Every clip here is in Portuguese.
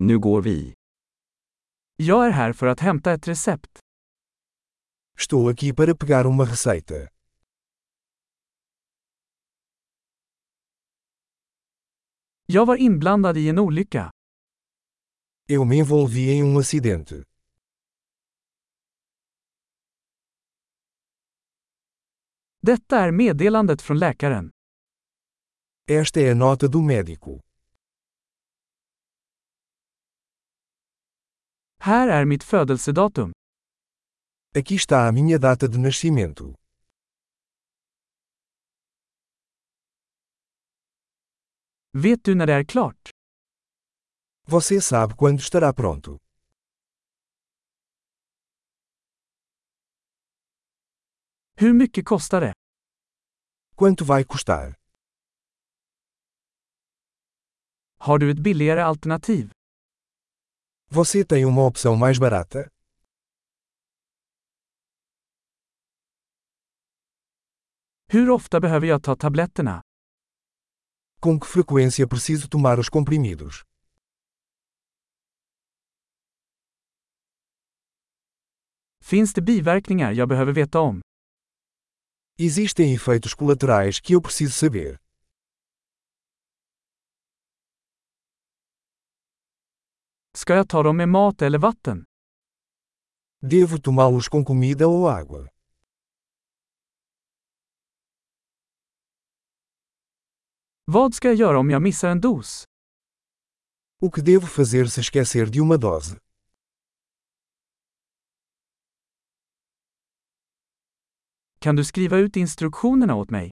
Nu går vi. Jag är här för att hämta ett recept. Estou aqui para pegar uma receita. Jag var inblandad i en olycka. Eu me envolvi em um acidente. Detta är meddelandet från läkaren. Esta é a nota do médico. Här är mitt födelsedatum. Aqui está a minha data de nascimento. Vet du när det är klart? Você sabe quando estará pronto. Hur mycket kostar det? Quanto vai custar? Har du ett billigare alternativ? Você tem uma opção mais barata? Hur ofta behöver jag ta tabletterna? Com que frequência preciso tomar os comprimidos? Finns det biverkningar jag behöver veta om? Existem efeitos colaterais que eu preciso saber. Ska jag ta dem med mat eller vatten? Devo tomá-los com comida ou água? Vad ska jag göra om jag missar en dos? O que devo fazer se esquecer de uma dose? Kan du skriva ut instruktionerna åt mig?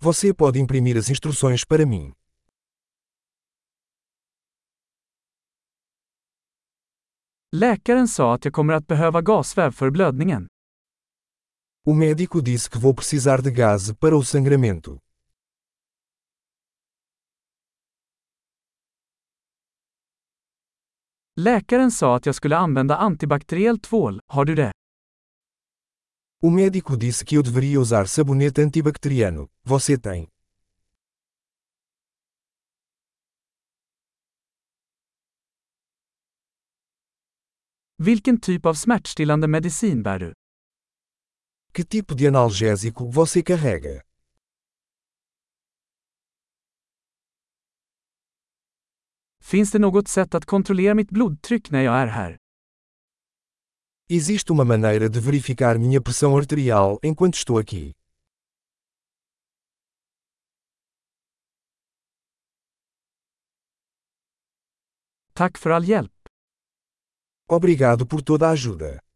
Você pode imprimir as instruções para mim. Läkaren sa att jag kommer att behöva gasväv för blödningen. O médico disse que vou precisar de gás para o sangramento. Läkaren sa att jag skulle använda antibakteriell tvål, har du det? O médico disse que eu deveria usar sabonete antibacteriano. Você tem? Vilken typ av smärtstillande medicin bär du? Que tipo de analgésico você carrega? Finns det något sätt att kontrollera mitt blodtryck när jag är här? Existe uma maneira de verificar minha pressão arterial enquanto estou aqui. Tack för all hjälp. Obrigado por toda a ajuda.